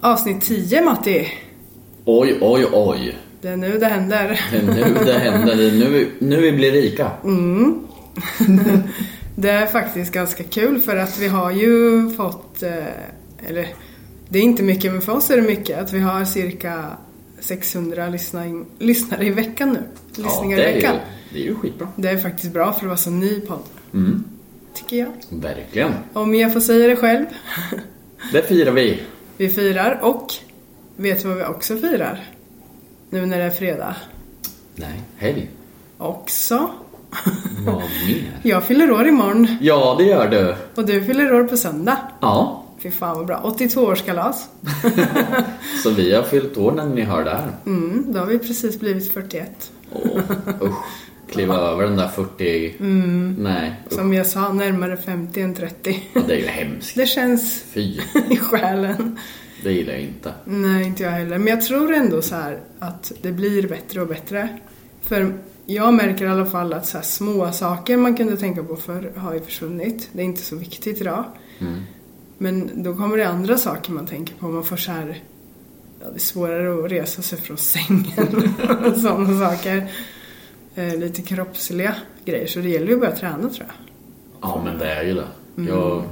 Avsnitt 10 Matti. Oj, oj, oj. Det är nu det händer. Det är nu det händer. Det är nu, vi- nu vi blir rika. Det är faktiskt ganska kul för att vi har ju fått, eh, eller det är inte mycket men för oss är det mycket, att vi har cirka 600 lyssnare, lyssnare i veckan nu. Lyssningar det i är veckan. ju, det är ju skitbra. Det är faktiskt bra för att vara så ny podd. Mm. Tycker jag. Verkligen. Om jag får säga det själv. Det firar vi. Vi firar och vet du vad vi också firar? Nu när det är fredag. Nej, helg. Också. Vad mer? Jag fyller år imorgon. Ja, det gör du. Och du fyller år på söndag. Ja, Fy fan vad bra. 82-årskalas. så vi har fyllt år när ni hör det här. Mm, då har vi precis blivit 41. Åh, usch. Kliva över den där 40... Nej, usch. Som jag sa, närmare 50 än 30. Ja, det är ju hemskt. Det känns Fy, i själen. det gillar jag inte. Nej, inte jag heller. Men jag tror ändå så här att det blir bättre och bättre. För jag märker i alla fall att så här små saker man kunde tänka på förr har ju försvunnit. Det är inte så viktigt idag. Mm. Men då kommer det andra saker man tänker på. Man får så här, ja, det är svårare att resa sig från sängen och sådana saker. Eh, lite kroppsliga grejer. Så det gäller ju att börja träna tror jag. Ja, men det är ju det. Mm. Jag,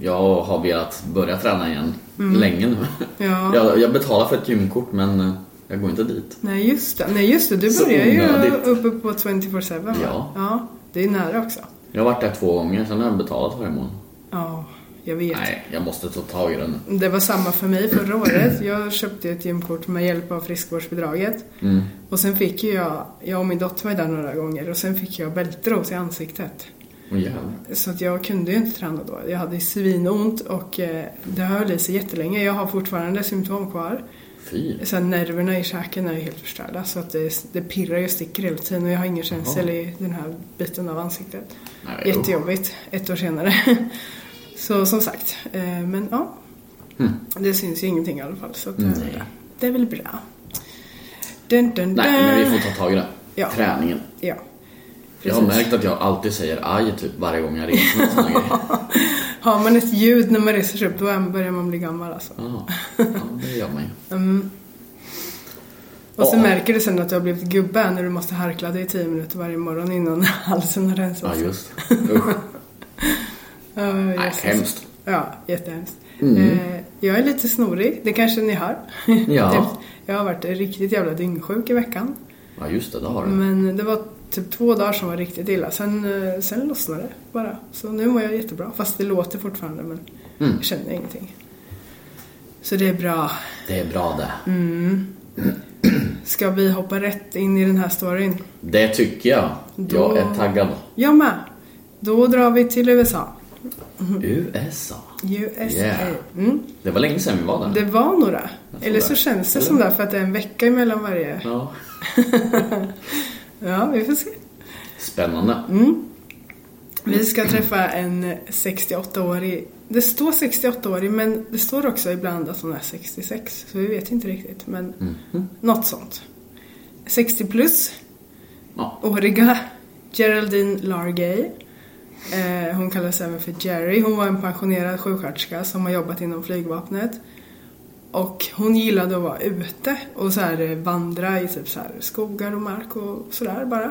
jag har velat börja träna igen länge nu. Mm. Ja. Jag, jag betalar för ett gymkort men eh, jag går inte dit. Nej just det, Nej, just det. du Så börjar ju onödigt. uppe på 24-7 va? Ja. ja. Det är nära också. Jag har varit där två gånger, sen har jag betalat varje månad. Ja, jag vet. Nej, jag måste ta tag i den nu. Det var samma för mig förra året. Jag köpte ett gymkort med hjälp av friskvårdsbidraget. Och sen fick ju jag, jag och min dotter var ju där några gånger och sen fick jag bältros i ansiktet. Åh, jävlar. Så att jag kunde ju inte träna då. Jag hade ju svinont och eh, det höll i sig jättelänge. Jag har fortfarande symptom kvar. Fy. Så att nerverna i käken är ju helt förstörda så att det, det pirrar ju och sticker hela tiden och jag har ingen känsel i den här biten av ansiktet. Nej, usch. Jättejobbigt, ett år senare. så som sagt, eh, men ja. Mm. Det syns ju ingenting i alla fall så att, eh, Nej. det är väl bra. Dun, dun, Nej, dun. men vi får ta tag i den. Ja. Träningen. Ja. Jag har Precis. märkt att jag alltid säger aj typ varje gång jag reser mig och såna grejer. Har man ett ljud när man reser sig upp då börjar man bli gammal alltså. Ja, ja, det gör man ju. Och så Ja. märker du sen att du har blivit gubbe när du måste harkla dig i 10 minuter varje morgon innan halsen har Ja, rensats. just Usch. Ja, Nej, Jesus. hemskt. Ja, jättehemskt. Mm. Eh, jag är lite snorig, det kanske ni hör. Typ, Ja. jag har varit riktigt jävla dyngsjuk i veckan. Ja, just det, det har du. Men det var typ två dagar som var riktigt illa. Sen, eh, sen lossnade det bara. Så nu mår jag jättebra. Fast det låter fortfarande men Mm. jag känner ingenting. Så det är bra. Det är bra det. Mm. Ska vi hoppa rätt in i den här storyn? Det tycker jag. Då- Jag är taggad. Jag med. Då drar vi till USA. USA. USA. Yeah. Mm. Det var länge sedan vi var där. Det var några. Jag tror Eller så det. känns det Eller? som det för att det är en vecka emellan varje. Ja. Ja, vi får se. Spännande. Mm. Vi ska träffa en 68-årig, det står 68-årig men det står också ibland att hon är 66 så vi vet inte riktigt men något sånt. 60 plus, Ja. åriga Geraldine Largay. Eh, hon kallas även för Jerry. Hon var en pensionerad sjuksköterska som har jobbat inom flygvapnet. Och hon gillade att vara ute och så här eh, vandra i typ så här skogar och mark och sådär bara.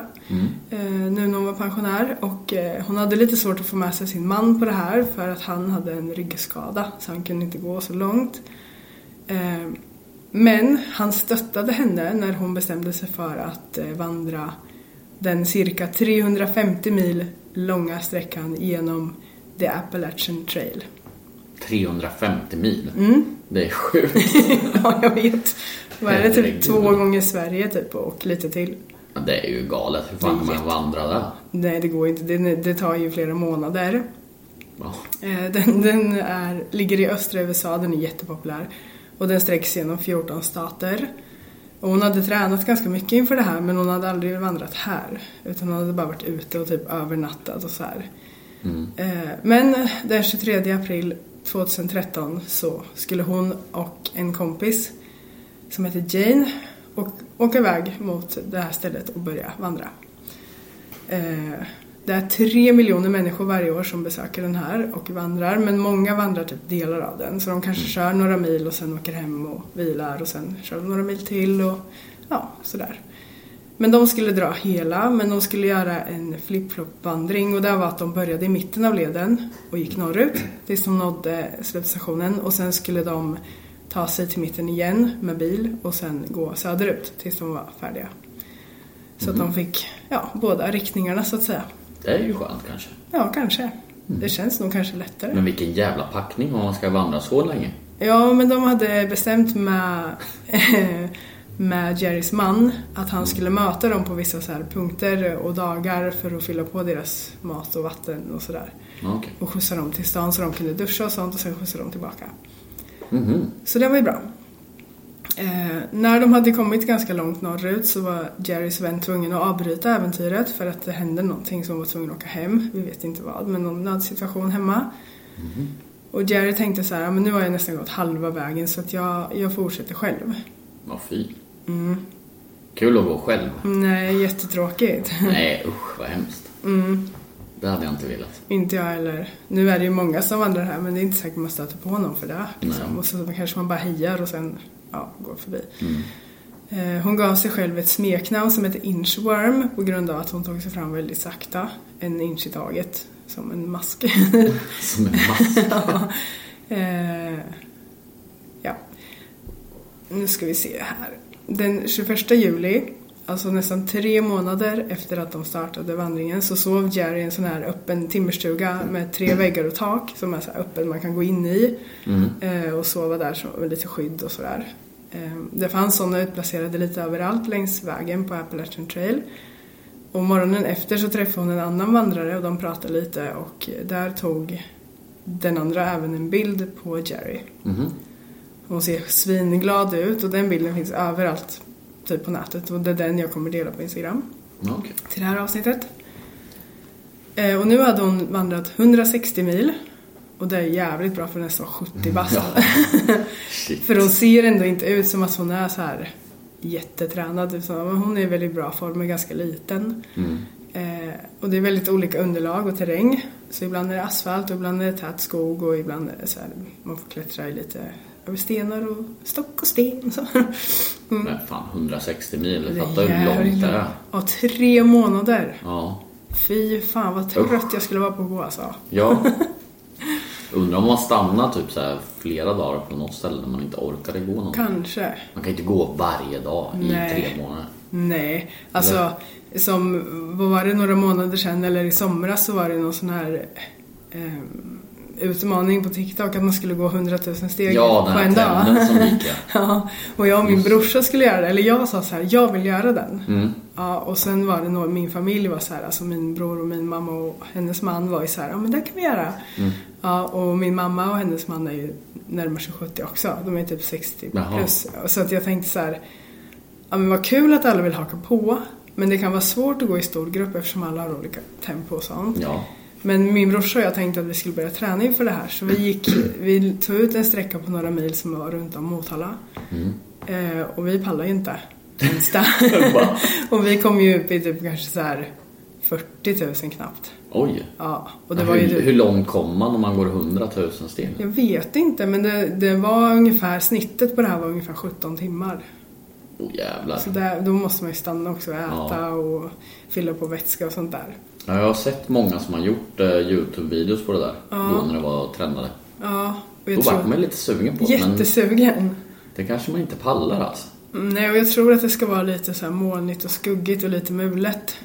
Eh, nu när hon var pensionär. Och eh, hon hade lite svårt att få med sig sin man på det här för att han hade en ryggskada så han kunde inte gå så långt. Eh, men han stöttade henne när hon bestämde sig för att eh, vandra den cirka 350 mil långa sträckan genom The Appalachian Trail. 350 mil. Mm. Det är sjukt. ja, jag vet. Vad är det? Typ Herregud. två gånger Sverige typ och lite till. Ja, det är ju galet. Hur fan kan man vandra där? Nej, det går inte. Det, det tar ju flera månader. Ja. Eh, Den, den är, ligger i östra USA, den är jättepopulär. Och den sträcks genom 14 stater. Och hon hade tränat ganska mycket inför det här men hon hade aldrig vandrat här. Utan hon hade bara varit ute och typ övernattat och så här. Eh, Men den 23 april 2013 så skulle hon och en kompis som heter Jane och åka iväg mot det här stället och börja vandra. Eh, det är tre miljoner människor varje år som besöker den här och vandrar men många vandrar typ delar av den så de kanske kör några mil och sen åker hem och vilar och sen kör de några mil till och ja, sådär. Men de skulle dra hela, men de skulle göra en flip-flop-vandring och det var att de började i mitten av leden och gick norrut tills de nådde slutstationen och sen skulle de ta sig till mitten igen med bil och sen gå söderut tills de var färdiga. Så att de fick ja, båda riktningarna så att säga. Det är ju skönt kanske. Ja, kanske. Det känns nog kanske lättare. Men vilken jävla packning om man ska vandra så länge. Ja, men de hade bestämt med, med Jerrys man att han skulle möta dem på vissa så här punkter och dagar för att fylla på deras mat och vatten och sådär. Ja, okej. Och skjutsa dem till stan så de kunde duscha och sånt och sen skjutsa dem tillbaka. Mhm. Så det var ju bra. Eh, när de hade kommit ganska långt norrut så var Jerrys vän tvungen att avbryta äventyret för att det hände någonting som var tvungen att åka hem. Vi vet inte vad, men någon nödsituation hemma. Och Jerry tänkte så här, "Ja, men nu har jag nästan gått halva vägen så att jag, jag fortsätter själv. Vad fy. Mm. Kul att gå själv. Nej, jättetråkigt. Nej usch vad hemskt. Mm. Det hade jag inte velat. inte jag heller. Nu är det ju många som vandrar här men det är inte säkert man stöter på någon för det. Liksom. Nej. Och så kanske man bara hejar och sen ja, går förbi. Eh, Hon gav sig själv ett smeknamn som heter Inchworm på grund av att hon tog sig fram väldigt sakta. En inch i taget, som en mask. Som en mask. Ja. Eh, ja. Nu ska vi se här. Den 21 juli, alltså nästan tre månader efter att de startade vandringen, så sov Jerry i en sån här öppen timmerstuga med tre väggar och tak som är så här öppen man kan gå in i eh, och sova där som- med lite skydd och sådär. Eh, det fanns sådana utplacerade lite överallt längs vägen på Appalachian Trail. Och morgonen efter så träffade hon en annan vandrare och de pratade lite och där tog den andra även en bild på Jerry. Hon ser svinglad ut och den bilden finns överallt typ på nätet och det är den jag kommer dela på Instagram Ja, okej. till det här avsnittet. Eh, och nu hade hon vandrat 160 mil och det är jävligt bra för nästan 70 bast. Shit. För hon ser ändå inte ut som att hon är så här jättetränad utan hon är i väldigt bra form och ganska liten. Mm. Eh, och det är väldigt olika underlag och terräng. Så ibland är det asfalt och ibland är det tät skog och ibland är det så här, man får klättra i lite över stenar och stock och sten och så. Mm. Men fan 160 mil. Det är Fattar hur långt jävligt det långt. är. Ja, tre månader. Ja. Fy fan vad trött jag skulle vara på att gå alltså. Ja. Undrar om man stannar typ så här flera dagar på något ställe när man inte orkade gå någon. Kanske. Man kan inte gå varje dag Nej. i tre månader. Nej, alltså som, vad var det, några månader sedan eller i somras så var det någon sån här eh, utmaning på TikTok att man skulle gå 100 000 steg Ja, den på här en dag. trenden som gick ja. ja, och jag och min brorsa skulle göra det, eller jag sa så här, jag vill göra den. Mm. Ja, och sen var det någon, min familj var så här, alltså min bror och min mamma och hennes man var ju så här, ja men det kan vi göra. Mm. Ja, och min mamma och hennes man är ju närmare sig 70 också, de är typ 60 Jaha. plus. Så att jag tänkte så här, Ja men vad kul att alla vill haka på. Men det kan vara svårt att gå i stor grupp eftersom alla har olika tempo och sånt. Ja. Men min brorsa och jag tänkte att vi skulle börja träna inför det här så vi gick, vi tog ut en sträcka på några mil som var runt om Motala. Mm. Eh, och vi pallade ju inte ens det. och vi kom ju upp i typ kanske så här 40 000 knappt. Oj. Ja, och det Men var ju hur, hur typ, långt kommer man om man går 100 000 steg? jag vet inte men det, det var ungefär, snittet på det här var ungefär 17 timmar. Åh jävlar. Så där, då måste man ju stanna också och äta Ja. och fylla på vätska och sånt där. Ja, jag har sett många som har gjort eh, Youtube-videos på det där. Då när det var trendade. Ja, och Då jag vart tror... man lite sugen på det. Men Jättesugen. det kanske man inte pallar alltså. Mm, Nej, och jag tror att det ska vara lite så här molnigt och skuggigt och lite mulet.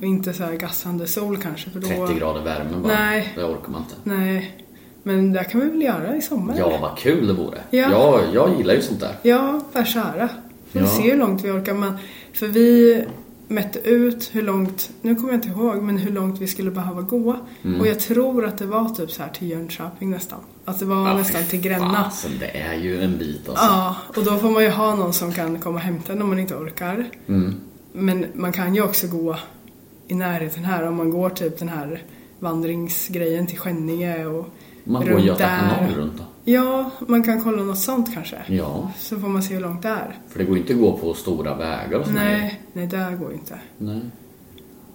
Och inte så här gassande sol kanske. För då... 30 Mm. grader värme bara. Nej. Det orkar man inte. Nej, men det kan vi väl göra i sommar? Ja, vad kul det vore. Ja. Jag, jag gillar ju sånt där. Ja, bärskära. Vi får Ja. se hur långt vi orkar. Men, för vi mätte ut hur långt, nu kommer jag inte ihåg, men hur långt vi skulle behöva gå. Mm. Och jag tror att det var typ så här till Jönköping nästan. Att det var nästan till Gränna. Fasen, det är ju en bit alltså. Ja, och då får man ju ha någon som kan komma och hämta en om man inte orkar. Mm. Men man kan ju också gå i närheten här om man går typ den här vandringsgrejen till Skänninge och Man går Göta kanal runt då. Ja, man kan kolla något sånt kanske. Ja, Så får man se hur långt det är. för det går ju inte att gå på stora vägar och sånt där. Nej, nej det går ju inte. Nej.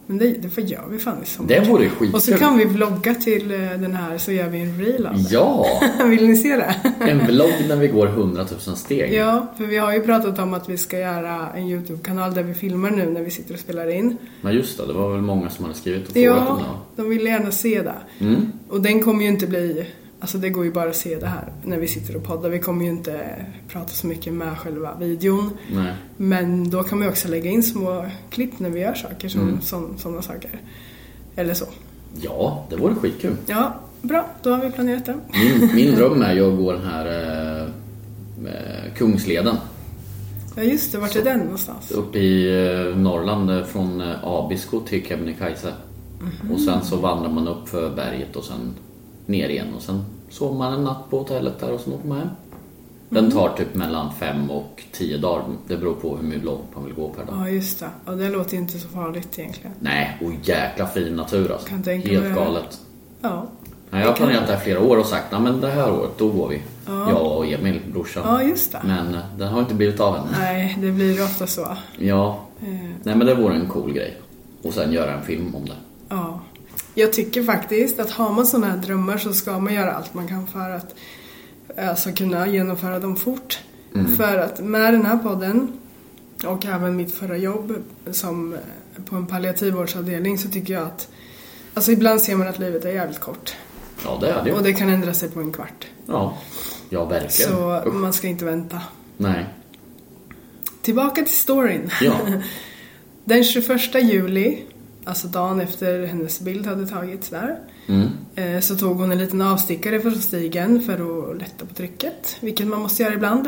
Men det, det får gör vi fan i sommar. Det vore skitkul. Och så kan vi vlogga till eh, den här så gör vi en reel av det. Ja! Vill ni se det? En vlogg när vi går 100 000 steg. Ja, för vi har ju pratat om att vi ska göra en YouTube-kanal där vi filmar nu när vi sitter och spelar in. Men just det, det var väl många som hade skrivit och frågat om Ja, det. va? de vill gärna se det. Mm. Och den kommer ju inte bli, alltså det går ju bara att se det här när vi sitter och poddar. Vi kommer ju inte prata så mycket med själva videon. Nej. Men då kan man ju också lägga in små klipp när vi gör saker, som, Mm. som, sådana saker. Eller så. Ja, det vore skitkul. Ja, bra, då har vi planerat det. Min, min dröm är ju att gå den här eh, eh, Kungsleden. Ja just det, vart är den någonstans? Upp i eh, Norrland eh, från eh, Abisko till Kebnekaise. Mhm. Och sen så vandrar man upp för berget och sen ner igen och sen sover man en natt på hotellet där och sen åker man hem. Den Mhm. tar typ mellan fem och tio dagar. Det beror på hur mycket långt man vill gå per dag. Ja just det, ja, det låter ju inte så farligt egentligen. Nej, och jäkla fin natur alltså. Kan tänka mig Helt det. galet. Ja, Nej, jag har planerat det här flera år och sagt "Nej, men det här året då går vi. Jag och Emil, brorsan. ja just det. Men eh, den har inte blivit av än. Nej, det blir ju ofta så. Ja. Eh, Nej men det vore en cool grej. Och sen göra en film om det. Ja. Jag tycker faktiskt att har man sådana här drömmar så ska man göra allt man kan för att alltså, kunna genomföra dem fort. Mm. För att med den här podden och även mitt förra jobb som eh, på en palliativvårdsavdelning så tycker jag att Alltså ibland ser man att livet är jävligt kort Ja det är det ju. och det kan ändra sig på en kvart. Ja. Ja verkligen. Så Usch. man ska inte vänta. Nej. Tillbaka till storyn. Ja. Den 21 juli, alltså dagen efter hennes bild hade tagits där, eh, så tog hon en liten avstickare från stigen för att lätta på trycket, vilket man måste göra ibland.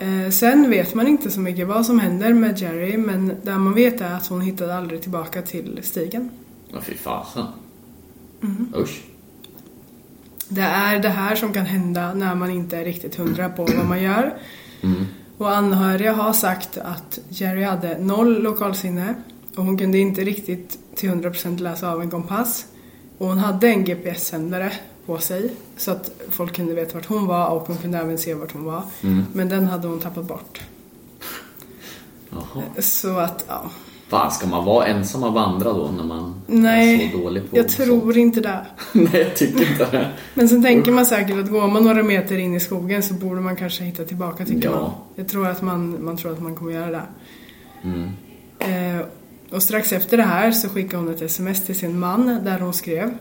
Eh, Sen vet man inte så mycket vad som händer med Jerry, men det man vet är att hon hittade aldrig tillbaka till stigen. Ja fy fasen. Mhm. Usch. Det är det här som kan hända när man inte är riktigt hundra på vad man gör. Mm. Och anhöriga har sagt att Jerry hade noll lokalsinne och hon kunde inte riktigt till 100% läsa av en kompass. Och hon hade en GPS-sändare på sig så att folk kunde veta vart hon var och hon kunde även se vart hon var. Mm. Men den hade hon tappat bort. Jaha. Så att, ja. Fan ska man vara ensam och vandra då när man Nej, är så dålig på jag sånt? tror inte det. Nej jag tycker inte det. Men sen tänker man säkert att går man några meter in i skogen så borde man kanske hitta tillbaka tycker Ja. man. Jag tror att man, man tror att man kommer göra det. Eh, och strax efter det här så skickade hon ett sms till sin man där hon skrev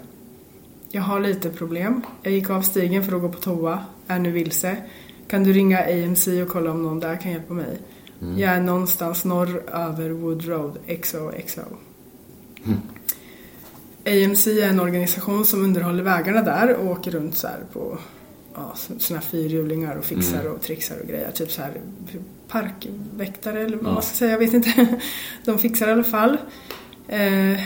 Jag har lite problem. Jag gick av stigen för att gå på toa. Är nu vilse. Kan du ringa AMC och kolla om någon där kan hjälpa mig? Jag är någonstans norr över Wood Road XOXO. AMC är en organisation som underhåller vägarna där och åker runt så här på ja, sådana här fyrhjulingar och fixar och trixar och grejer. Typ så här parkväktare eller vad man ska säga, jag vet inte. De fixar i alla fall. Eh,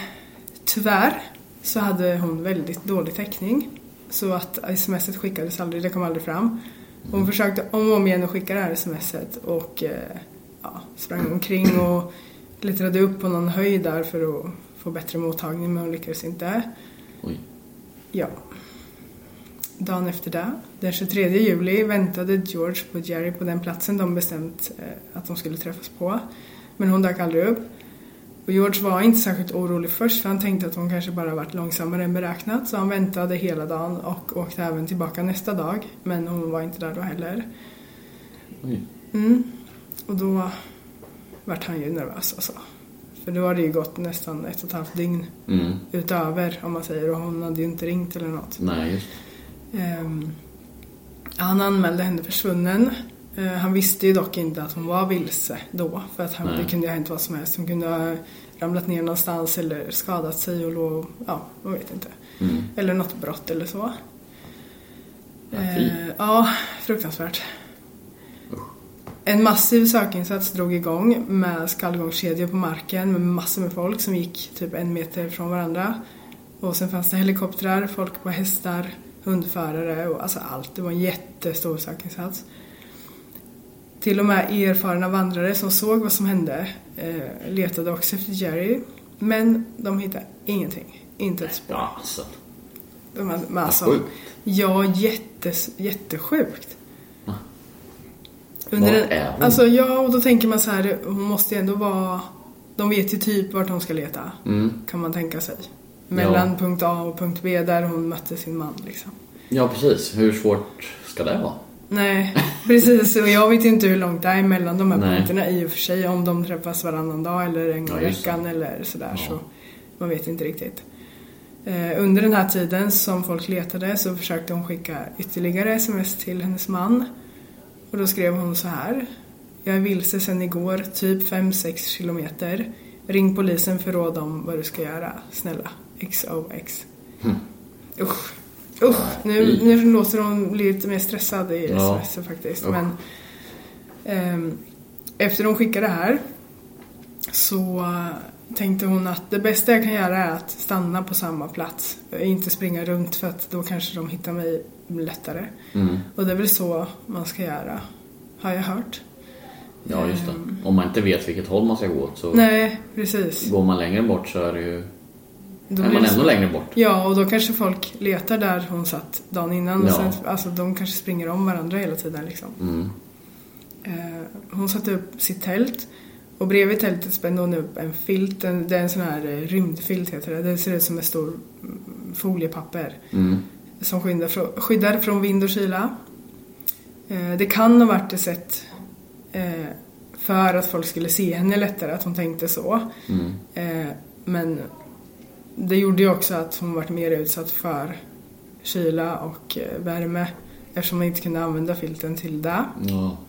tyvärr så hade hon väldigt dålig täckning. Så att smset skickades aldrig, det kom aldrig fram. Hon försökte om och om igen att skicka det här smset och eh, ja, sprang omkring och klättrade upp på någon höjd där för att få bättre mottagning men hon lyckades inte. Oj. Ja. Dagen efter det, den 23 juli, väntade George på Jerry på den platsen de bestämt eh, att de skulle träffas på. Men hon dök aldrig upp. Och George var inte särskilt orolig först för han tänkte att hon kanske bara varit långsammare än beräknat så han väntade hela dagen och åkte även tillbaka nästa dag. Men hon var inte där då heller. Oj. Mm. Och då vart han ju nervös alltså. För då hade det ju gått nästan ett och ett halvt dygn Mm. utöver om man säger och hon hade ju inte ringt eller något. Nej, just Ehm, han anmälde henne försvunnen. Eh, han visste ju dock inte att hon var vilse då för att han, Nej. det kunde ju ha hänt vad som helst. Hon kunde ha ramlat ner någonstans eller skadat sig och låg, ja, man vet inte. Mm. Eller något brott eller så. Ja, fy. Eh, ja, fruktansvärt. En massiv sökinsats drog igång med skallgångskedjor på marken med massor med folk som gick typ en meter från varandra. Och sen fanns det helikoptrar, folk på hästar, hundförare och alltså allt. Det var en jättestor sökinsats. Till och med erfarna vandrare som såg vad som hände eh, letade också efter Jerry. Men de hittade ingenting. Inte ett spår. Ja, alltså. De här, men alltså, sjukt. ja, jättes, jättesjukt. Va? Under Var en, är hon? Alltså, ja, och då tänker man så här, hon måste ju ändå vara... De vet ju typ vart de ska leta, kan man tänka sig. Mellan Mm. Ja. punkt A och punkt B där hon mötte sin man liksom. Ja, precis. Hur svårt ska det vara? Nej, precis. Och jag vet ju inte hur långt det är mellan de här Nej. punkterna i och för sig. Om de träffas varannan dag eller en gång i Ja, just det. veckan eller sådär. Så man vet inte riktigt. Eh, under den här tiden som folk letade så försökte hon skicka ytterligare sms till hennes man. Och då skrev hon så här. Jag är vilse sen igår, typ 5-6 kilometer. Ring polisen för råd om vad du ska göra. Snälla. XOX. Hm. Usch. Usch. Nu, nu låter hon bli lite mer stressad i Ja. sms faktiskt. Usch. Men, ehm, efter hon skickade det här så eh, tänkte hon att det bästa jag kan göra är att stanna på samma plats. Inte springa runt för att då kanske de hittar mig lättare. Mm. Och det är väl så man ska göra, har jag hört. Ja, just det. Om man inte vet vilket håll man ska gå åt så Mm. Nej, precis. går man längre bort så är det ju... Då Är blir man det så- ännu längre bort? Ja, och då kanske folk letar där hon satt dagen innan. Och Ja. sen, alltså, de kanske springer om varandra hela tiden. Liksom. Eh, hon satte upp sitt tält och bredvid tältet spände hon upp en filt. En, det är en sån här eh, rymdfilt heter det. Det ser ut som en stor mm, foliepapper som skyddar, frå- skyddar från vind och kyla. Eh, det kan ha varit ett sätt eh, för att folk skulle se henne lättare, att hon tänkte så. Eh, men det gjorde ju också att hon varit mer utsatt för kyla och eh, värme eftersom man inte kunde använda filten till det. Ja.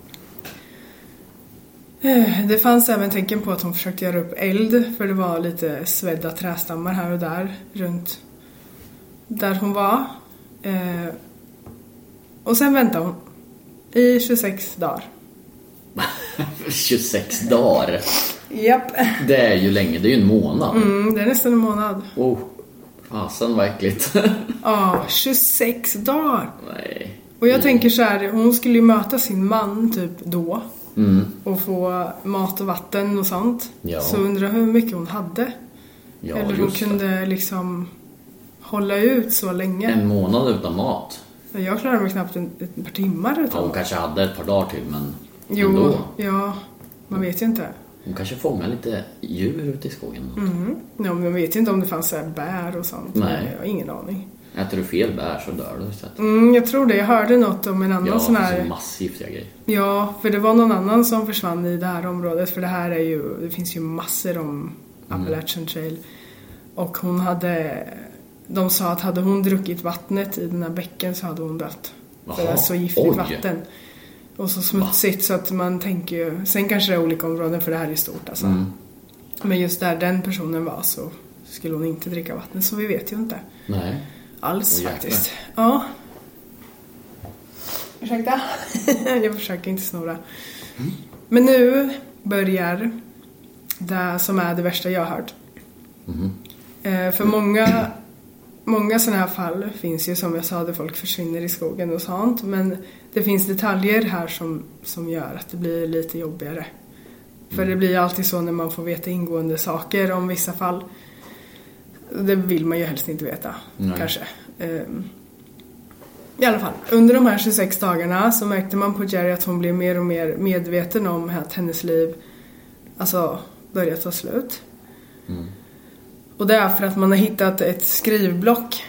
Eh, Det fanns även tecken på att hon försökte göra upp eld för det var lite svedda trästammar här och där runt där hon var. Eh, Och sen väntade hon i 26 dagar. 26 dagar. Japp. Det är ju länge. Det är ju en månad. Mm, det är nästan en månad. Oh, fasen vad äckligt. Ja, 26 dagar! Nej. Och jag tänker så här, hon skulle ju möta sin man typ då. Och få mat och vatten och sånt. Mm. Ja. Så undrar hur mycket hon hade. Ja, Eller hon just kunde det. liksom hålla ut så länge. En månad utan mat. Jag klarade mig knappt en, ett par timmar Ja, utan hon kanske hade ett par dagar till men Jo, ändå. ja. Man vet ju inte. Hon kanske fångar lite djur ute i skogen. Mm. Ja, men man vet ju inte om det fanns så här bär och sånt. Nej. Jag har ingen aning. Äter du fel bär så dör du istället. Mm, jag tror det. Jag hörde något om en annan Ja, sån alltså här... massivt jag grejer. Ja, för det var någon annan som försvann i det här området för det här är ju, det finns ju massor om Mm. Appalachian trail. Och hon hade, de sa att hade hon druckit vattnet i den här bäcken så hade hon dött. För det är Jaha, så giftigt oj. vatten. Och så smutsigt så att man tänker ju, sen kanske det är olika områden för det här är ju stort alltså. Mm. Men just där den personen var så skulle hon inte dricka vattnet så vi vet ju inte Nej. alls Åh, jäklar. faktiskt. Ja. Ursäkta? jag försöker inte snora. Mm. Men nu börjar det som är det värsta jag har hört. Eh, För många, många sådana här fall finns ju som jag sa där folk försvinner i skogen och sånt. Men det finns detaljer här som, som gör att det blir lite jobbigare. För det blir ju alltid så när man får veta ingående saker om vissa fall. Det vill man ju helst inte veta, Nej. kanske. Ehm, I alla fall, under de här 26 dagarna så märkte man på Jerry att hon blev mer och mer medveten om att hennes liv alltså, började ta slut. Och det är för att man har hittat ett skrivblock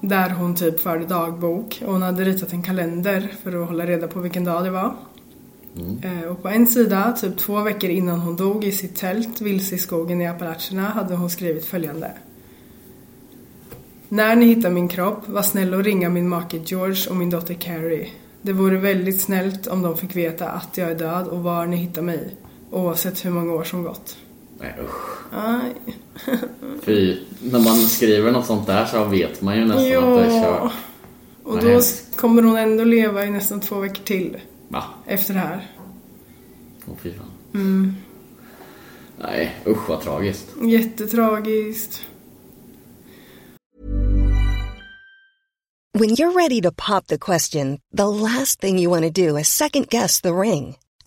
där hon typ förde dagbok och hon hade ritat en kalender för att hålla reda på vilken dag det var. Eh, Och på en sida, typ två veckor innan hon dog i sitt tält vilse i skogen i Appalacherna hade hon skrivit följande. När ni hittar min kropp, var snäll och ringa min make George och min dotter Carrie. Det vore väldigt snällt om de fick veta att jag är död och var ni hittar mig. Oavsett hur många år som gått. Nej usch. Aj. Fy, när man skriver något sånt där så vet man ju nästan att det är Ja. kört. Och Nej. då kommer hon ändå leva i nästan två veckor till Va? efter det här. Åh fy fan. Mm. Nej usch vad tragiskt. Jättetragiskt. When you're ready to pop the question, the last thing you want to do is second guess the ring.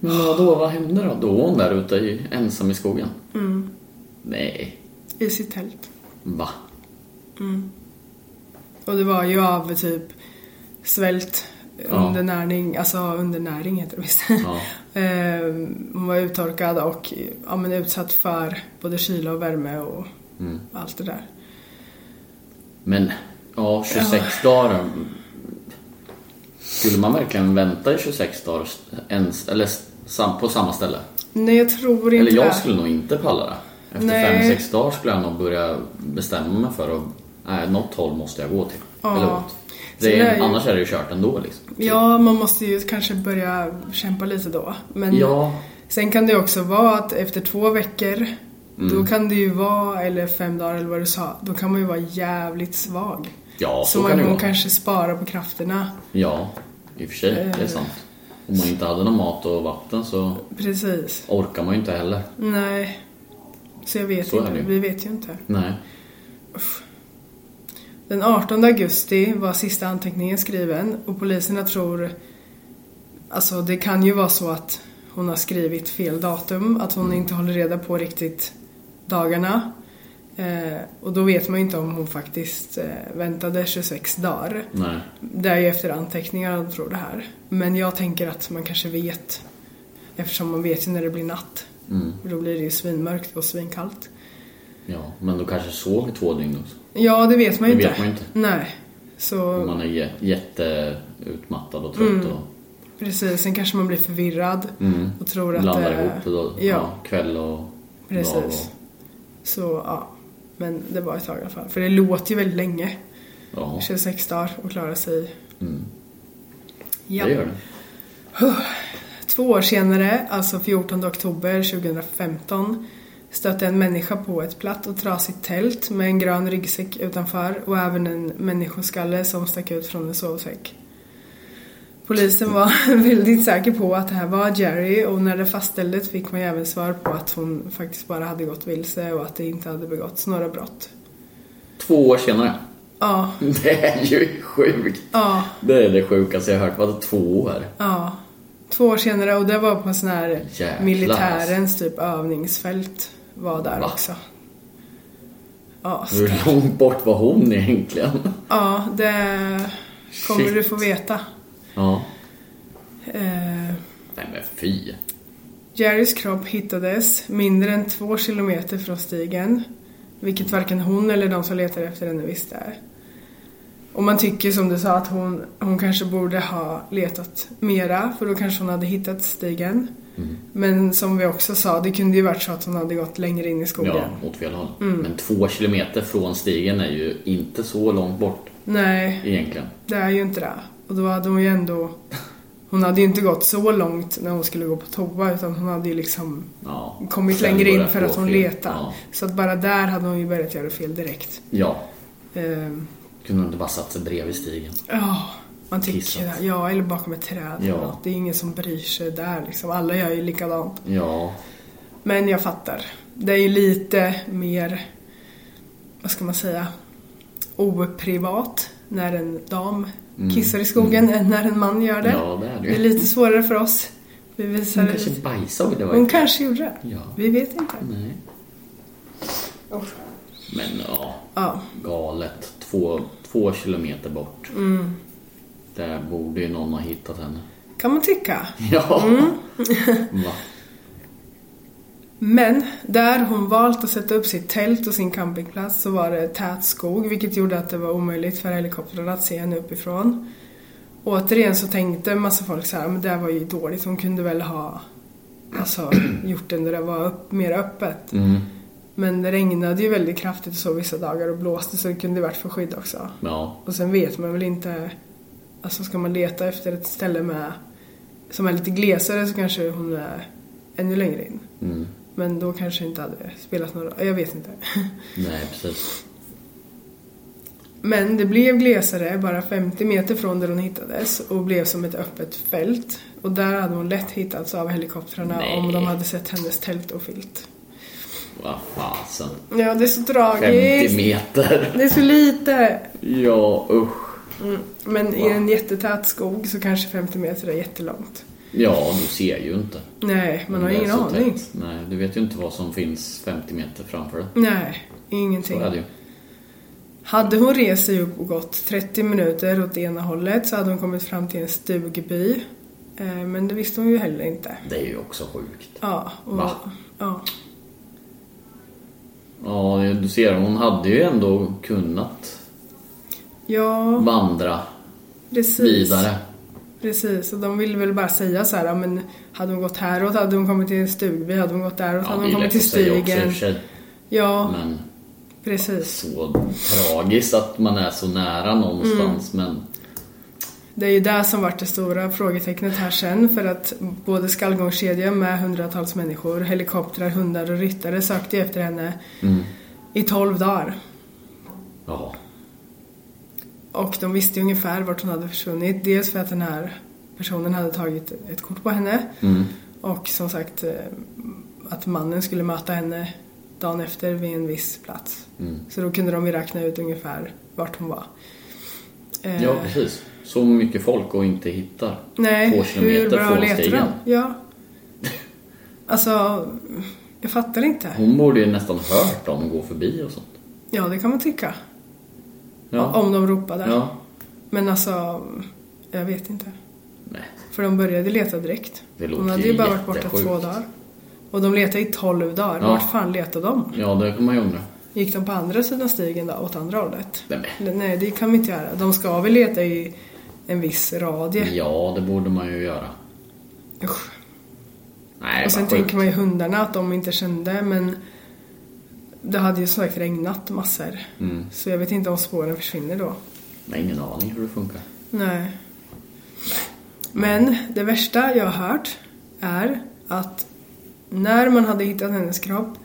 Men vadå, vad hände då? Då var hon där ute i, ensam i skogen? Mm. Nej, I sitt tält. va? Och det var ju av typ svält, Ja. undernäring, alltså undernäring heter det visst. Ja. Ehm, Hon var uttorkad och ja, men utsatt för både kyla och värme och Mm. allt det där. Men, ja 26 dagar. Skulle man verkligen vänta i 26 dagar ens, eller sam, på samma ställe? Nej, jag tror inte Eller jag det. skulle nog inte palla det. Nej. Efter 5-6 dagar skulle jag nog börja bestämma mig för att nej, något håll måste jag gå till. Ja. Eller åt. Så det Det är är, ju- annars är det ju kört ändå liksom. Ja, man måste ju kanske börja kämpa lite då. Men Ja. sen kan det också vara att efter två veckor, Mm. då kan det ju vara, eller fem dagar eller vad du sa, då kan man ju vara jävligt svag. Ja, så så kan det man vara. kanske sparar på krafterna. Ja, i och för sig. Eh. Det är sant. Om man inte hade någon mat och vatten så Precis. orkar man ju inte heller. Nej. Så jag vet Så är inte, det ju. vi vet ju inte. Nej. Den 18 augusti var sista anteckningen skriven och poliserna tror... Alltså det kan ju vara så att hon har skrivit fel datum, att hon inte håller reda på riktigt dagarna. Eh, och då vet man ju inte om hon faktiskt eh, väntade 26 dagar. Nej. Det är ju efter anteckningar de tror det här. Men jag tänker att man kanske vet. Eftersom man vet ju när det blir natt. Då blir det ju svinmörkt och svinkallt. Mm, Ja, men då kanske sov i två dygn också. Ja, det vet man ju Det inte. vet man ju inte. Nej. Så... Om Man är jä- jätteutmattad och trött Mm. och Precis, sen kanske man blir förvirrad och tror att blandar det- ihop det då. Ja, Ja, kväll och dag. Och, precis. Så ja, men det var ett tag i alla fall. För det låter ju väldigt länge, ja, mm. 26 dagar och klara sig. Ja. det gör det. Två år senare, alltså 14 oktober 2015, stötte en människa på ett platt och trasigt tält med en grön ryggsäck utanför och även en människoskalle som stack ut från en sovsäck. Polisen var väldigt säker på att det här var Jerry och när det fastställdes fick man ju även svar på att hon faktiskt bara hade gått vilse och att det inte hade begåtts några brott. Två år senare. Ja, Det är ju sjukt. ja, Det är det sjukaste jag har hört. Vadå två år? ja. Två år senare och det var på en sån här Jävlar. alltså. militärens typ övningsfält var där Va? också. Ja, så- Hur långt bort var hon egentligen? ja, det kommer Shit. du få veta. Ja. Eh, Nej men fy. Jerrys kropp hittades mindre än två kilometer från stigen. Vilket varken hon eller de som letar efter henne visste. Och man tycker som du sa att hon, hon kanske borde ha letat mera för då kanske hon hade hittat stigen. Men som vi också sa, det kunde ju varit så att hon hade gått längre in i skogen. Ja, åt fel håll. Mm. Men två kilometer från stigen är ju inte så långt bort Nej, egentligen. det är ju inte det. Och då hade hon ju ändå... Hon hade ju inte gått så långt när hon skulle gå på toa utan hon hade ju liksom Ja. kommit Sen längre in börjar för gå att hon fel. letade. Ja. Så att bara där hade hon ju börjat göra fel direkt. ja, Ehm, kunde hon inte bara satt sig bredvid stigen. Ja, man tycker Kissat. det. Ja, eller bakom ett träd. eller Ja. något. Det är ingen som bryr sig där liksom. Alla gör ju likadant. Ja, Men jag fattar. Det är ju lite mer, vad ska man säga, oprivat när en dam kissar i skogen än när en man gör det. Mm. Ja, det är det ju. det är lite svårare för oss. Vi visar hon kanske bajsade. Det var Hon inte- kanske gjorde det. Ja. Vi vet inte. Nej. Men ja, Ja. galet. Två, två kilometer bort. Mm. Där borde ju någon ha hittat henne. Kan man tycka. Ja. Mm. Va? Men där hon valt att sätta upp sitt tält och sin campingplats så var det tät skog vilket gjorde att det var omöjligt för helikoptern att se henne uppifrån. Återigen så tänkte en massa folk så här, men det här var ju dåligt, hon kunde väl ha alltså, gjort det när det var upp, mer öppet. Mm. Men det regnade ju väldigt kraftigt och så vissa dagar och blåste så det kunde varit för skydd också. Ja. Och sen vet man väl inte, alltså ska man leta efter ett ställe med, som är lite glesare så kanske hon är ännu längre in. Mm. Men då kanske inte hade spelat någon roll. Jag vet inte. Nej, precis. Men det blev glesare bara 50 meter från där hon hittades och blev som ett öppet fält. Och där hade hon lätt hittats av helikoptrarna Nej. om de hade sett hennes tält och filt. Vad fasen. Ja, det är så 50 tragiskt. meter. Det är så lite. Ja, usch. Men i en jättetät skog så kanske 50 meter är jättelångt. Ja, du ser ju inte. Nej, man har Det är ingen så aning. tätt. Nej, du vet ju inte vad som finns 50 meter framför dig. Nej, Så ingenting. är det ju. Hade hon rest sig upp och gått 30 minuter åt ena hållet så hade hon kommit fram till en stugby. Eh, Men det visste hon ju heller inte. Det är ju också sjukt. Ja, och, Va? ja, Ja, du ser, hon hade ju ändå kunnat ja vandra precis. vidare. Precis, och de ville väl bara säga så här, ja, men hade hon gått häråt hade hon kommit till en stugby, hade hon gått däråt Ja, hade det hon är kommit lätt till att säga också i och stigen. för sig. Ja, Men precis. så tragiskt att man är så nära någonstans. Mm. Men Det är ju det som vart det stora frågetecknet här sen för att både skallgångskedjan med hundratals människor, helikoptrar, hundar och ryttare sökte ju efter henne Mm. i tolv dagar. ja, Och de visste ju ungefär vart hon hade försvunnit. Dels för att den här personen hade tagit ett kort på henne. Mm. Och som sagt eh, att mannen skulle möta henne dagen efter vid en viss plats. Mm. Så då kunde de ju räkna ut ungefär vart hon var. Eh, ja precis. Så mycket folk och inte hittar. Två nej, hur kilometer bra från letar stigen. de? Ja. Alltså, jag fattar inte. Hon borde ju nästan hört dem gå förbi och sånt. Ja, det kan man tycka. Ja. Om de ropade. ja. Men alltså, jag vet inte. Nej. För de började leta direkt. Det låter Hon hade ju ju bara varit borta jättesjukt. två dagar. Och de letade i tolv dagar. Ja. Vart fan letade de? Ja, det kan man ju undra. Gick de på andra sidan stigen då, åt andra hållet? Nej, Eller, Nej, det kan vi inte göra. De ska väl leta i en viss radie. Ja, det borde man ju göra. Usch. Nej, Och sen vad sjukt. tänker man ju hundarna att de inte kände, men det hade ju som sagt regnat massor. Så jag vet inte om spåren försvinner då. Nej, Mm. ingen aning hur det funkar. Nej. Men det värsta jag har hört är att när man hade hittat hennes kropp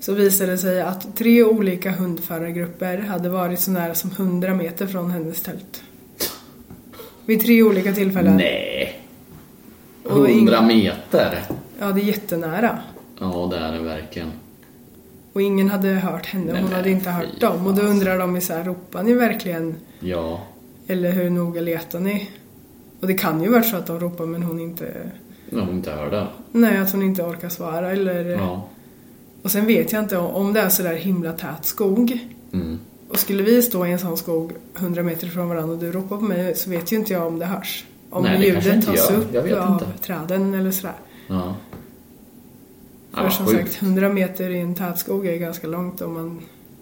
så visade det sig att tre olika hundförargrupper hade varit så nära som 100 meter från hennes tält. Vid tre olika tillfällen. Nej. Och ing- 100 meter. Ja, det är jättenära. Ja, det är det verkligen. Och ingen hade hört henne, Nej, hon men hade inte fy hört dem. Och då undrar de ju så här, ropar ni verkligen? Ja. Eller hur noga letar ni? Och det kan ju vara så att de ropar men hon inte När hon inte hörde. Nej, att hon inte orkar svara eller... Ja. Och sen vet jag inte om det är sådär himla tät skog. Mm. Och skulle vi stå i en sån skog 100 meter från varandra och du ropar på mig så vet ju inte jag om det hörs. Om Nej, det kanske ljudet inte tas gör. upp Jag vet av inte. träden eller sådär. Ja. För Ja, som sjukt. sagt, 100 meter i en tät skog är ganska långt om man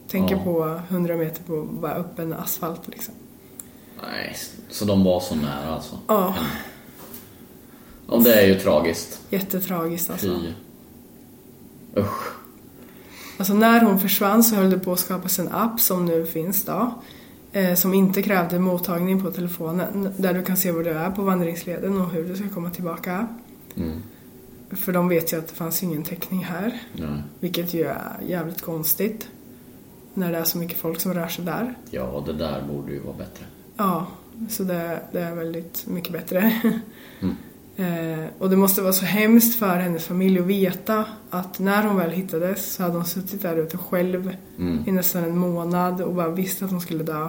Tänker Ja. på 100 meter på bara öppen asfalt liksom. Nej, så de var så nära alltså. Ja, Ja, det är ju tragiskt. jättetragiskt alltså. Fy. Usch. Alltså när hon försvann så höll det på att skapas en app som nu finns då. Eh, som inte krävde mottagning på telefonen. Där du kan se var du är på vandringsleden och hur du ska komma tillbaka. Mm. För de vet ju att det fanns ingen täckning här. Nej. Vilket ju är jävligt konstigt. När det är så mycket folk som rör sig där. Ja, det där borde ju vara bättre. Ja, så det, det är väldigt mycket bättre. Eh, och det måste vara så hemskt för hennes familj att veta att när hon väl hittades så hade hon suttit där ute själv Mm. i nästan en månad och bara visste att hon skulle dö.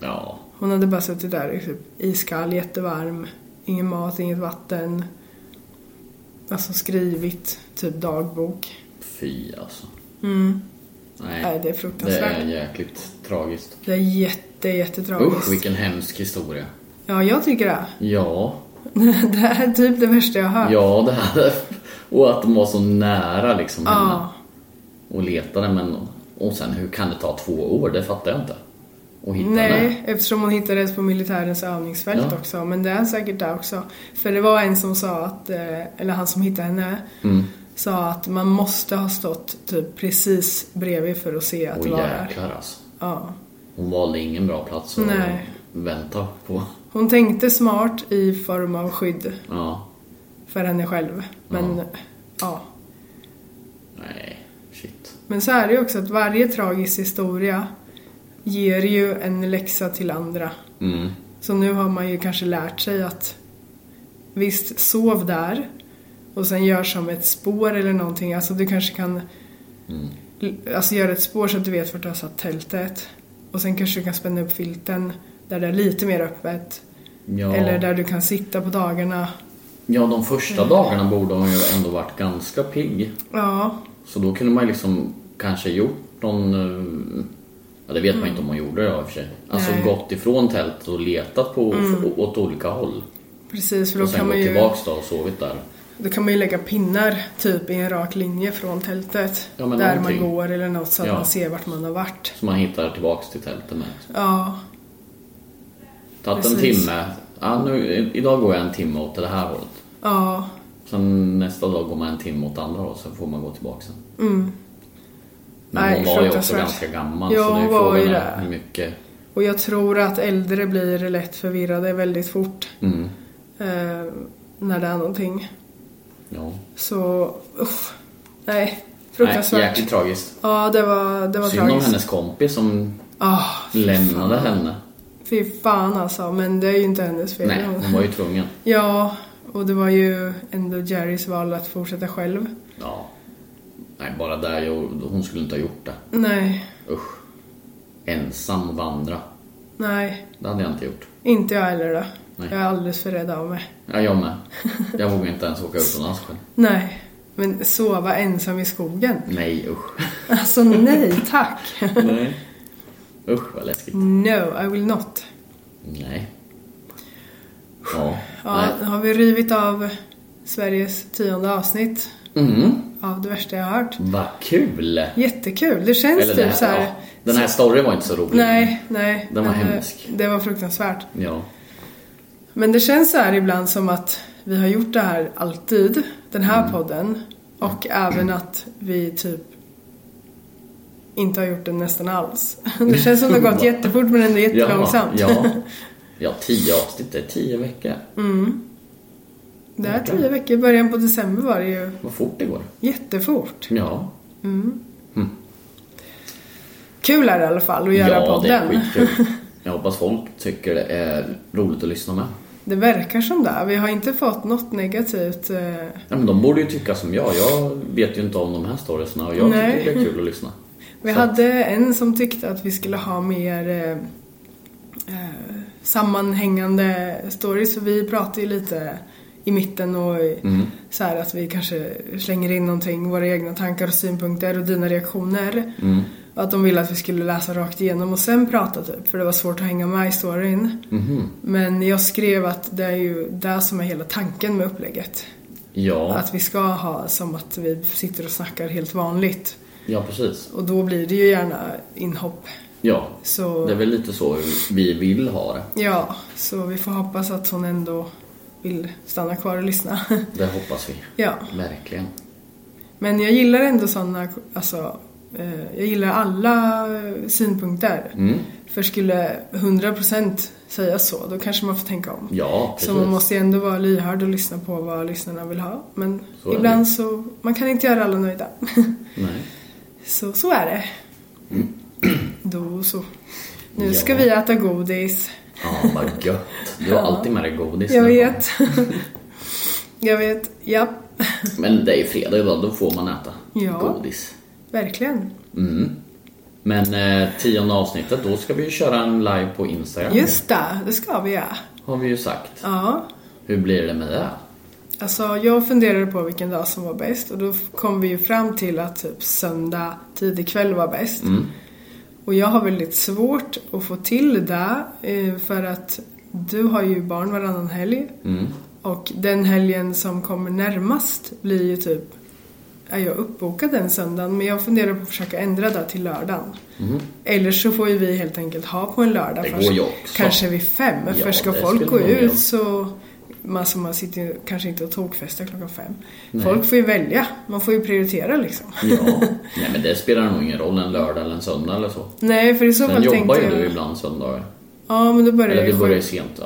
Ja, Hon hade bara suttit där typ, iskall, jättevarm, ingen mat, inget vatten. Alltså skrivit typ dagbok. Mm. fy alltså. Nej, Nej, det är det fruktansvärt. är jäkligt tragiskt. Det är jätte, jättetragiskt. Usch, vilken hemsk historia. Ja, jag tycker det. Ja, Det här är typ det värsta jag har hört. ja det här. Och att de var så nära liksom henne. Ja. Och letade, men... Och sen hur kan det ta två år? Det fattar jag inte. Och hitta henne. Nej, eftersom hon hittades på militärens övningsfält Ja. också. Men det är säkert där också. För det var en som sa att, eh, eller han som hittade henne, Mm. sa att man måste ha stått typ precis bredvid för att se att Och det var där. jäklar alltså. Ja. Hon valde ingen bra plats att Nej. vänta på. Hon tänkte smart i form av skydd Ja. för henne själv. Men, ja. Nej, shit. Men så är det ju också att varje tragisk historia ger ju en läxa till andra. Mm. Så nu har man ju kanske lärt sig att visst, sov där och sen gör som ett spår eller någonting. Alltså du kanske kan Mm. l- alltså, göra ett spår så att du vet vart du har satt tältet. Och sen kanske du kan spänna upp filten där det är lite mer öppet. Ja. Eller där Mm. du kan sitta på dagarna. ja, de första dagarna borde hon ju ändå varit ganska pigg. Ja, Så då kunde man ju liksom kanske gjort någon... eh, Ja, det vet man inte om hon gjorde det i och för sig. Alltså Nej. gått ifrån tältet och letat på f- åt olika håll. precis. För då Och sen kan, man gått ju, tillbaks då och sovit där. då kan man ju lägga pinnar typ i en rak linje från tältet. Ja, men där man någonting. går eller något så att Ja. man ser vart man har varit. Så man hittar tillbaks till tältet med. Ja, Tagit en Precis. timme. Ja, nu, i- idag går jag en timme åt det här hållet. ja. Sen nästa dag går man en timme åt andra hållet, sen får man gå tillbaka sen. Mm. Men Nej, hon var ju också fruktansvärt. ganska gammal Ja, så det är hon ju var ju frågan det. är hur mycket... Och jag tror att äldre blir lätt förvirrade väldigt fort Mm, eh, när det är någonting. ja. Så usch, nej. Nej, Fruktansvärt. jäkligt tragiskt. ja, det var, det var Synd om tragiskt. hennes kompis som Ah, lämnade henne. fy fan alltså, men det är ju inte hennes fel. Nej, hon var ju tvungen. Ja, och det var ju ändå Jerrys val att fortsätta själv. Ja. Nej, bara där. jag- Hon skulle inte ha gjort det. Nej, Usch. Ensam och vandra. nej, Det hade jag inte gjort. inte jag heller då. Nej. Jag är alldeles för rädd av mig. Ja, jag med. Jag vågar inte ens åka utomlands själv. Nej, men sova ensam i skogen? Nej, usch. Alltså nej tack! Nej. Usch, vad läskigt. No, I will not. Nej. Ja. Ja, Nej. nu har vi rivit av Sveriges tionde avsnitt Mm, av det värsta jag har hört. vad kul! Jättekul, det känns Eller den typ så här, här. ja, den här storyn var inte så rolig. Nej, nej. Den var men det- hemsk. Det var fruktansvärt. Ja. Men det känns så här ibland som att vi har gjort det här alltid, den här Mm. podden. Och även att vi typ inte har gjort den nästan alls. Det känns som det har gått jättefort men ändå jättelångsamt. Ja, ja. ja, tio avsnitt, det är tio veckor. Mm. Det här tio veckor, i början på december var det ju Vad fort det går. jättefort. Ja, Kul är det i alla fall att göra ja det är podden. skitkul. Jag hoppas folk tycker det är roligt att lyssna med. Det verkar som det. Vi har inte fått något negativt. eh, Ja, men de borde ju tycka som jag. Jag vet ju inte om de här storiesna och jag Nej. tycker det är kul att lyssna. Vi Så hade en som tyckte att vi skulle ha mer eh, eh, sammanhängande stories. Så vi pratade ju lite i mitten och i- Mm. så här att vi kanske slänger in någonting, våra egna tankar och synpunkter och dina reaktioner. Mm. Och att de ville att vi skulle läsa rakt igenom och sen prata typ, för det var svårt att hänga med i storyn. Mhm. Men jag skrev att det är ju det som är hela tanken med upplägget. Ja, Att vi ska ha som att vi sitter och snackar helt vanligt. Ja, precis. Och då blir det ju gärna inhopp. Ja, Så- det är väl lite så vi vill ha det. Ja, så vi får hoppas att hon ändå vill stanna kvar och lyssna. Det hoppas vi. ja. Verkligen. Men jag gillar ändå sådana, alltså, eh, jag gillar alla eh, synpunkter. Mm. För skulle 100% säga så, då kanske man får tänka om. Ja, så precis. man måste ju ändå vara lyhörd och lyssna på vad lyssnarna vill ha. Men Så är det. ibland så, man kan inte göra alla nöjda. Nej. så, så är det. Då så. Nu Mm. Ja. ska vi äta godis. Ja, vad gött. Du har alltid med dig godis. Jag när du vet. jag vet, ja. kommer. Men det är ju fredag idag, då får man äta Ja. godis. Mm. Verkligen. Men eh, tionde avsnittet, då ska vi ju köra en live på Instagram. Just det, det ska vi ja. Har vi ju sagt. Ja. Hur blir det med det? Alltså jag funderade på vilken dag som var bäst och då kom vi ju fram till att typ söndag tidig kväll var bäst. Mm. Och jag har väldigt svårt att få till det eh, för att du har ju barn varannan helg. Mm. Och den helgen som kommer närmast blir ju typ, är jag uppbokad den söndagen men jag funderar på att försöka ändra det till lördagen. Eller så får ju vi helt enkelt ha på en lördag Mm. Det först. går ju också. Kanske vid fem, Ja, för ska det folk skulle gå man göra. ut så Alltså man sitter ju kanske inte och tokfestar klockan fem. Folk får ju välja. Man får ju prioritera liksom. Ja. Nej men det spelar nog ingen roll en lördag eller en söndag eller så. Nej, för i så Sen fall jobbar tänkte ju du jag... ibland söndagar. Ja, men då börjar Eller jag du ju börjar ju sju. sent. Ja.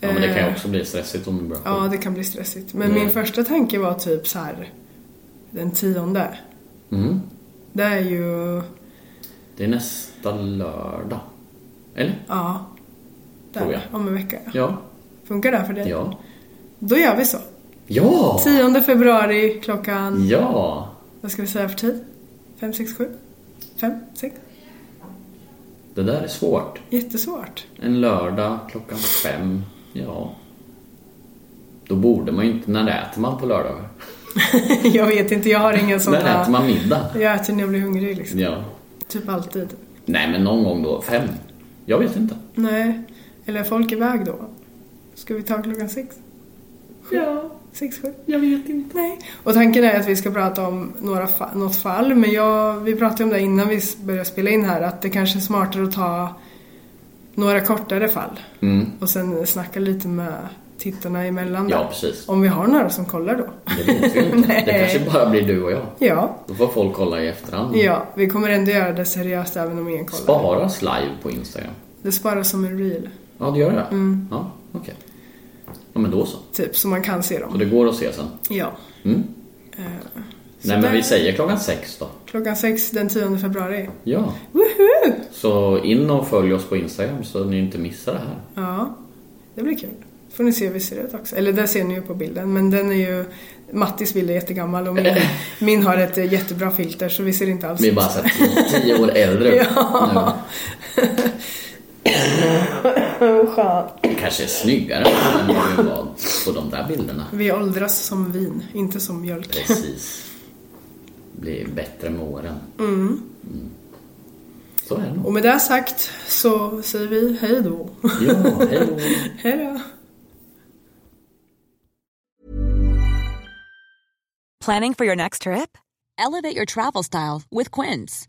ja men det kan ju också bli stressigt om du börjar Ja, sju. det kan bli stressigt. Mm. Men min första tanke var typ så här den tionde. Mm. Det är ju... Det är nästa lördag. Eller? Ja. Tror Där, jag. om en vecka. Ja. Funkar det för dig? Oh, Ja. Då gör vi så. Ja! 10 februari klockan... Ja! Vad ska vi säga för tid? Fem, sex, sju? Fem, sex? Det där är svårt. Jättesvårt. En lördag klockan fem. Ja. Då borde man ju inte... När äter man på lördagar? jag vet inte, jag har ingen sån När här... äter man middag? Jag äter när jag blir hungrig liksom. Ja. Typ alltid. Nej men någon gång då. Fem? Jag vet inte. Nej. Eller är folk iväg då? Ska vi ta klockan sex? Ja, Sex, sju? jag vet inte. Nej. Och tanken är att vi ska prata om några fa- något fall. Men jag, vi pratade om det innan vi s- började spela in här. Att det kanske är smartare att ta några kortare fall. Mm. Och sen snacka lite med tittarna emellan Ja, där. precis. Om vi har några som kollar då. Det vet vi inte. Det kanske Mm. bara blir du och jag. Ja. Då får folk kolla i efterhand. Ja, vi kommer ändå göra det seriöst även om ingen kollar. Sparas live på Instagram? Det sparas som en reel. Ja, det gör det? Mm. Ja, okej. Ja, men då så. Typ, så man kan se Så dem. det går att se sen. Ja. Mm. Eh, Nej, men där- vi säger klockan sex då. Klockan sex den 10 februari. Ja. Woohoo! Så in och följ oss på Instagram så ni inte missar det här. Ja, det blir kul. Får ni se hur vi ser ut också. Eller det ser ni ju på bilden, men den är ju... Mattis bild är jättegammal och min, min har ett eh, jättebra filter så vi ser inte alls Vi är ut bara så. så här tio år äldre ut Alltså, Ja. Skönt. nu. Kanske är snyggare än vad vi var på de där bilderna. Vi åldras som vin, inte som mjölk. Precis. Blir bättre med åren. Mm. Så är det nog. Och med det sagt så säger vi hej då. Ja, hej då. hej då. Planning for your next trip? Elevate your travel style with Quince.